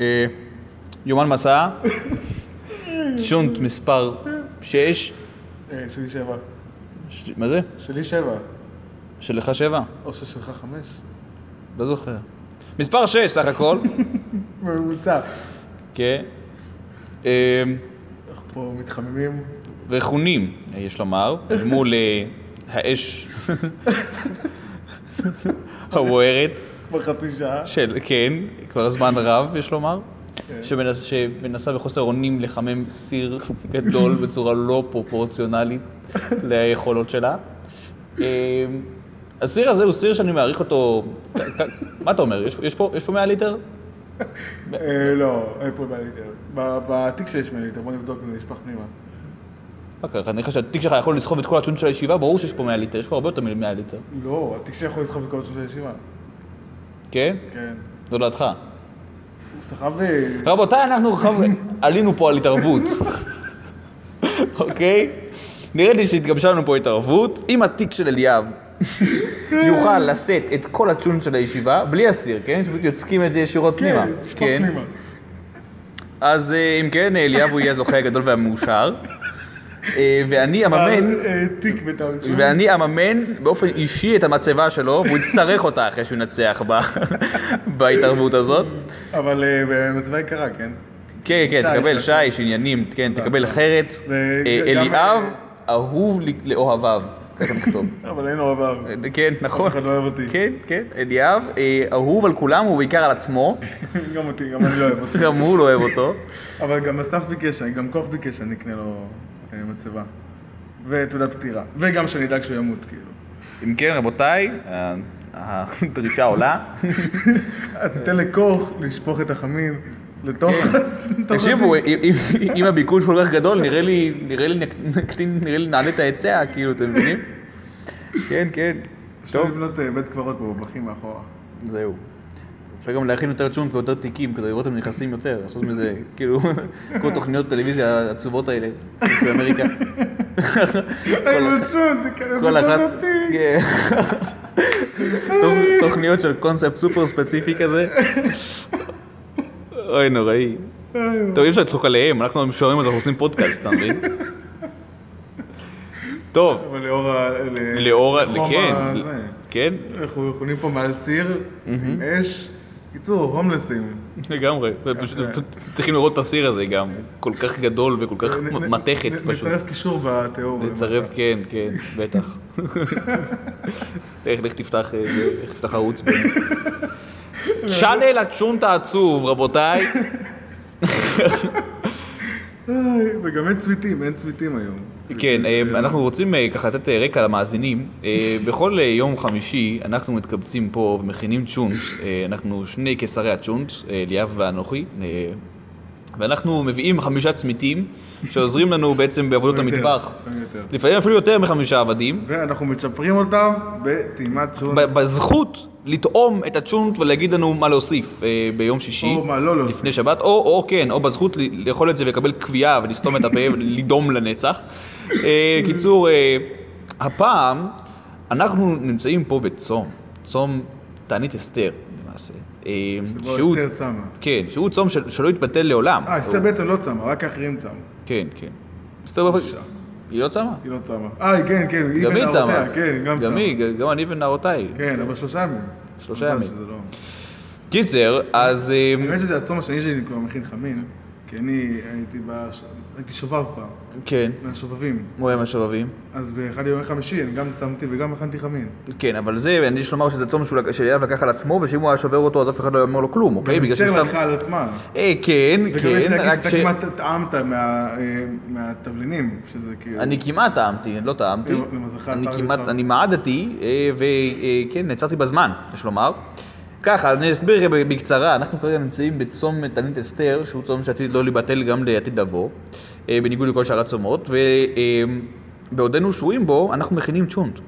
אה, יומן מסע, שונט מספר 6, אה, שלי שבע. מה זה? שלי שבע. שלך שבע? או ששלך חמש. לא זוכר. מספר 6 סך הכל, ממוצע. כן. אה, אנחנו פה מתחממים. רכונים, יש לומר, אל מול אה, האש הבוערת. כבר חצי שעה. של, כן, כבר זמן רב, יש לומר, כן. שמנס, שמנסה בחוסר אונים לחמם סיר גדול בצורה לא פרופורציונלית ליכולות שלה. אמ, הסיר הזה הוא סיר שאני מעריך אותו, ת- ת- מה אתה אומר, יש, יש, פה, יש פה 100 ליטר? אה, לא, אין פה 100 ליטר. ב- בתיק שיש 100 ליטר, בוא נבדוק אם זה נשפך פנימה. מה קרה, נראה שהתיק שלך יכול לסחוב את כל הצ'ון של הישיבה, ברור שיש פה 100 ליטר, יש פה הרבה יותר מ-100 ליטר, לא, התיק שיכול לסחוב את כל השלושה הישיבה. כן? כן. זו דעתך. הוא סחב... אה, רבותיי, אנחנו חב- עלינו פה על התערבות, אוקיי? נראה לי שהתגבשה לנו פה התערבות. אם התיק של אליאב יוכל לשאת את כל הצ'ון של הישיבה, בלי אסיר, כן? שפשוט יוצקים את זה ישירות פנימה. כן, נשפך פנימה. אז אה, אם כן, אליאב הוא יהיה הזוכה הגדול והמאושר. אה, ואני אממן, אה, אה, תיק בטעות שלו. ואני אממן באופן אישי את המצבה שלו, והוא יצטרך אותה אחרי שהוא ינצח ב- בהתערבות הזאת. אבל אה, במצווה יקרה, כן? כן, כן, שי, תקבל שי. שיש, עניינים, כן, תקבל אחרת. ו- אה, גם- אליאב, אהוב ל- לאוהביו. ככה נכתוב. אבל אין אוהב אב. אה, כן, נכון. אף אחד לא אוהב אותי. כן, כן, אליאב, אה, אהוב על כולם ובעיקר על עצמו, גם אותי, גם אני לא אוהב אותי. גם הוא לא אוהב אותו. אבל גם אסף ביקש, גם כוח ביקש שאני אקנה לו אה, מצבה. ותעודת פטירה. וגם שאני אדאג שהוא ימות, כאילו. אם כן, רבותיי, ה- הדרישה עולה. אז ניתן לכוך לשפוך את החמין לתוך... לתוך כן. תקשיבו, אה, התיק. אם- אם- אם הביקוש כל כך גדול, נראה לי, נראה לי נק- נקטין, נראה לי נעלה את ההיצע, כאילו, אתם מבינים? כן, כן, אפשר טוב. לבנות אה, בית קברות בבכים מאחורה. זהו. אפשר גם להכין יותר צ'ונט ויותר תיקים, כדי לראות אם נכנסים יותר, לעשות מזה, כאילו, כל תוכניות הטלוויזיה העצובות האלה, שיש באמריקה. היי, מצ'ון, תיכנס כל אחת... לתוך התיק. כן. תוכ- תוכניות של קונספט סופר ספציפי כזה. אוי, נוראי. אה. טוב, אי אפשר לצחוק עליהם, אנחנו משוערים אז אנחנו עושים פודקאסט, אתה מבין? טוב, אבל לאור ה... ל- לאור... ה- לחום כן, הזה. כן, אנחנו יכולים פה מעל סיר, עם אש. קיצור, הומלסים. לגמרי, כן, פשוט צריכים לראות את הסיר הזה גם, כל כך גדול וכל כך נ- נ- מתכת נ- פשוט. נצרף קישור בתיאור. לצרף, כן, כן, בטח. לך, לך תפתח, אה, זה, לך תפתח ערוץ. ב- שאנל הצ'ונט העצוב, רבותיי. איי, אה, וגם אין צמיתים, אין צמיתים היום. כן, אה, אנחנו רוצים אה, ככה לתת אה, רקע למאזינים. אה, בכל אה, יום חמישי אנחנו מתקבצים פה ומכינים צ'ונט. אה, אנחנו שני קיסרי הצ'ונט, אה, ליאב ואנוכי. אה, ואנחנו מביאים חמישה צמיתים שעוזרים לנו בעצם בעבודות לפעמים יותר, המטבח. לפעמים יותר. לפעמים אפילו יותר מחמישה עבדים. ואנחנו מצ'פרים אותם בטעימת צ'ון. ב- בזכות לטעום את הצ'ונט ולהגיד לנו מה להוסיף אה, ביום שישי, או מה לא להוסיף. לפני שבת, או, או כן, או בזכות ל- לאכול את זה ולקבל קביעה ולסתום את הפה ולדום לנצח. אה, קיצור, אה, הפעם אנחנו נמצאים פה בצום, צום תענית אסתר למעשה. אה, בוא, שהוא- אסתר צמה. כן, שהוא צום של- שלא יתבטל לעולם. אה, אסתר הוא- בעצם לא צמה, רק האחרים צמו. כן, כן. אסתר באופן... היא לא צמה. היא לא צמה. אה, כן, כן, היא גם היא צמה. ונערותיה, כן, היא גם גם צמה. היא, ג- גם אני ונערותיי. כן, אבל שלושה ימים. שלושה מזל ימים. שזה לא- קיצר, אז... אה, האמת שזה הצום השני שלי, אני כבר מכין חמין, כי אני הייתי בש- הייתי שובב פעם, כן. מהשובבים. הוא היה מהשובבים. אז באחד יום חמישי, אני גם צמתי וגם הכנתי חמין. כן, אבל זה, אני יש לומר שזה צום שהוא לק- שאליאב לקח על עצמו, ושאם הוא היה שובר אותו אז אף אחד לא היה אומר לו כלום, אוקיי? גם בגלל אסתר שסתם... לקחה על עצמה. אה, כן, וגם יש כן, רק להגיד ש... שאתה כמעט טעמת מה- אה, מהתבלינים, שזה כאילו... אני כמעט טעמתי, אני לא טעמתי. אה, למזלך, אני צר לי כמעט, צר. אני מעדתי, אה, וכן, כן, נעצרתי בזמן, יש לומר. ככה, אז אני אסביר לכם בקצרה, אנחנו כרגע נמצאים בצום תענית אסתר, שהוא צום שעתיד לא להיבטל גם לעתיד לבוא, אה, בניגוד לכל שאר הצומות, ובעודנו שרויים בו, אנחנו מכינים צ'ונט.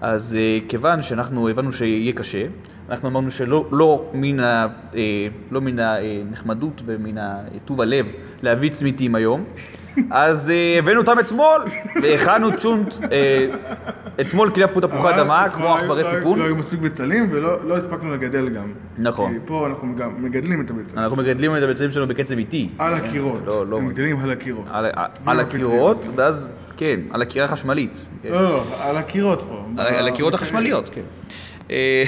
אז אה, כיוון שאנחנו הבנו שיהיה קשה, אנחנו אמרנו שלא לא מן, ה, אה, לא מן הנחמדות ומן הטוב הלב להביא צמיתים היום, אז אה, הבאנו אותם אתמול והכנו צ'ונט אה, אתמול קילפו תפוחי אבל אדמה, לא כמו היו- עכברי לא היו- סיפון. לא היו מספיק בצלים ולא לא הספקנו לגדל גם. נכון. כי פה אנחנו גם מגדלים את הבצלים. אנחנו מגדלים את הביצים שלנו בקצב איטי. על הקירות. לא, לא. הם גדלים על הקירות. על- אה, על לא הקירות, ואז, כן, על הקירה החשמלית. כן. לא, לא, על הקירות פה. על על הקירות החשמליות, כן. אה,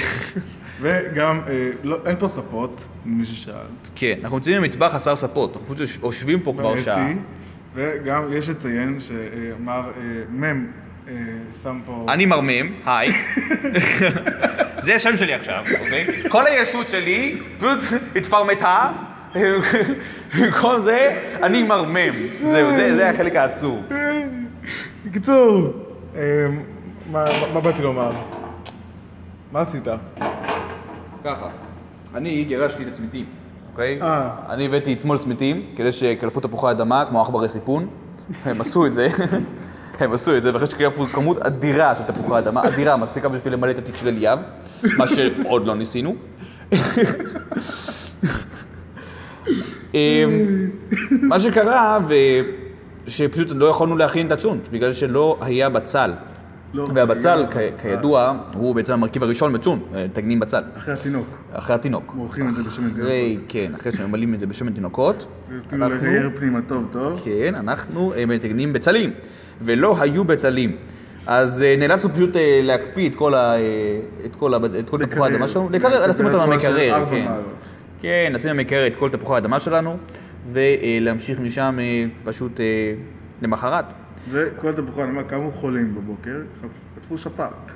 וגם, אה, לא- אין פה ספות, מי ששאל. כן, אנחנו נמצאים במטבח חסר ספות, אנחנו פשוט יוש- יושבים פה כבר בעייתי. שעה. וגם יש לציין שמר אה, מ' אה, שם פה... אני מרמם, היי. זה השם שלי עכשיו, אוקיי? כל הישות שלי פשוט התפרמטה, כל זה, אני מרמם. זהו, זה זה החלק העצוב. בקיצור, אה, מה מה באתי לומר? מה עשית? ככה, אני גירשתי את הצמיתים, אוקיי? אה. אני הבאתי אתמול צמיתים, כדי שקלפו תפוחי אדמה, כמו עכברי סיפון. הם עשו את זה. הם עשו את זה, ואחרי שקלפו כמות אדירה של תפוחי אדמה, אדירה, מספיקה בשביל למלא את התיק של אליאב, מה שעוד לא ניסינו. אמ, מה שקרה, ו... שפשוט לא יכולנו להכין את הצ'ונט, בגלל שלא היה בצל. לא והבצל, היה כ- בצל. כידוע, הוא בעצם המרכיב הראשון בצ'ונט, תגנים בצל. אחרי התינוק. אחרי התינוק. מורחים את זה בשמן תינוקות. אחרי, כן, אחרי שממלאים את זה בשמן תינוקות, כאילו אנחנו, לגייר פנימה טוב טוב. כן, אנחנו אה, מתגנים בצלים, ולא היו בצלים. אז אה, נאלצנו פשוט אה, להקפיא את כל ה... אה, את כל ה... את כל תפוחי לקרר. האדמה שלנו, לקרר, לשים אותם בטמפרטורה של במקרר, ארבע כן. מעלות. כן, לשים במקרר את כל תפוחי האדמה שלנו, ולהמשיך משם אה, פשוט אה, למחרת. וכל תפוחי האדמה קמו חולים בבוקר, חט- חטפו שפעת.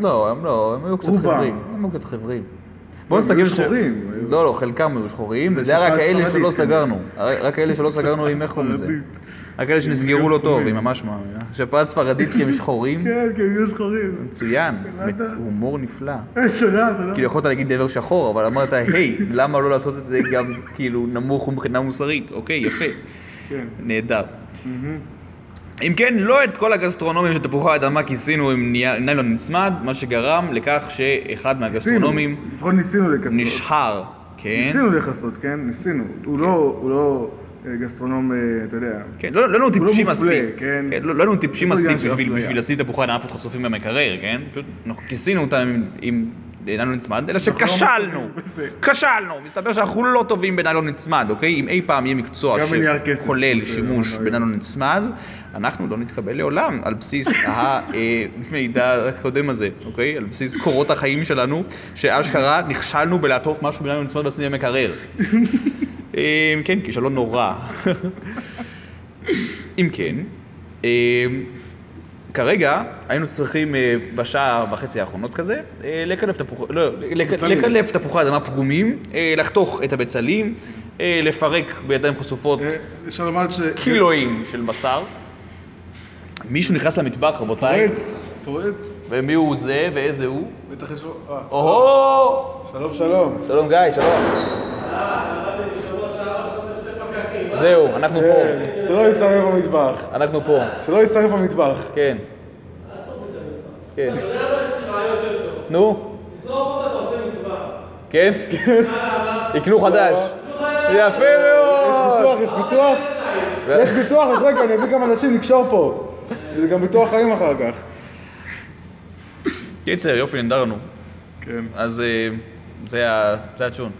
לא, הם לא, הם היו קצת כן. רובם. חברים. הם היו קצת חברים. בוא הם היו נסגר שחורים, היו- לא, לא, חלקם היו שחורים, זה וזה היה שפעת רק האלה ספרדית, שלא כן. סגרנו. הרי- רק האלה שלא סגרנו עם איך קוראים לזה. רק אלה שנסגרו לא טוב, היא ממש מאמינה. שפעת ספרדית כי הם שחורים, כן, כן, יש חורים. מצוין, הבנת? מצ- הומור נפלא. אה, תודה, תודה. כאילו יכולת להגיד דבר שחור, אבל אמרת, היי, למה לא לעשות את זה גם כאילו נמוך מבחינה מוסרית? אוקיי, יפה, כן. נהדר. אם כן, לא את כל הגסטרונומים של תפוחי האדמה כיסינו עם נייר- ניילון נצמד, מה שגרם לכך שאחד מהגסטרונומים ניסינו, לפחות ניסינו לכסות. נשחר, כן? ניסינו לכסות, כן? ניסינו. הוא לא, הוא לא אה, גסטרונום, אה, אתה יודע. כן, לא לא היינו טיפשים מופלה, מספיק. כן. כן, לא לא היינו טיפשים לא מספיק עניין של בשביל אפליה. בשביל לשים תפוחי אדמה פחות חשופים במקרר, כן? פשוט אנחנו כיסינו אותם עם- עם ניילון נצמד, אלא אנחנו לא שכשלנו, מספיקים בזה. כשלנו. מסתבר שאנחנו לא טובים בניילון נצמד, אוקיי? אם אי פעם יהיה מקצוע גם בנייר כסף, שכולל זה שימוש לא בניילון נצמד, אנחנו לא נתקבל לעולם על בסיס המידע הקודם הזה, אוקיי? על בסיס קורות החיים שלנו, שאשכרה נכשלנו בלעטוף משהו בניילון נצמד ולשים במקרר. אה, כן, כישלון נורא. אם כן, אה, כרגע היינו צריכים אה, בשעה וחצי האחרונות כזה, אה, לקלף תפוחי, לא, לק- בצלים. לקלף תפוחי אדמה פגומים, אה, לחתוך את הבצלים, אה, לפרק בידיים חשופות אה, אפשר לומר ש... קילואים של בשר. מישהו נכנס למטבח, רבותיי, אה, פורץ, פורץ. ומי הוא זה ואיזה הוא? בטח יש לו... אה, או-הו! שלום, שלום. שלום גיא, שלום. זהו, אנחנו פה, כן, שלא יסרב במטבח. אנחנו פה, שלא יסרב במטבח. כן. כן. נו, כן? יקנו חדש. יפה מאוד! יש ביטוח, יש ביטוח, אז רגע, אני אביא גם אנשים לקשור פה. זה גם ביטוח חיים אחר כך. קיצר, יופי, נדרנו. כן. אז אה, זה ה- זה הצ'ון.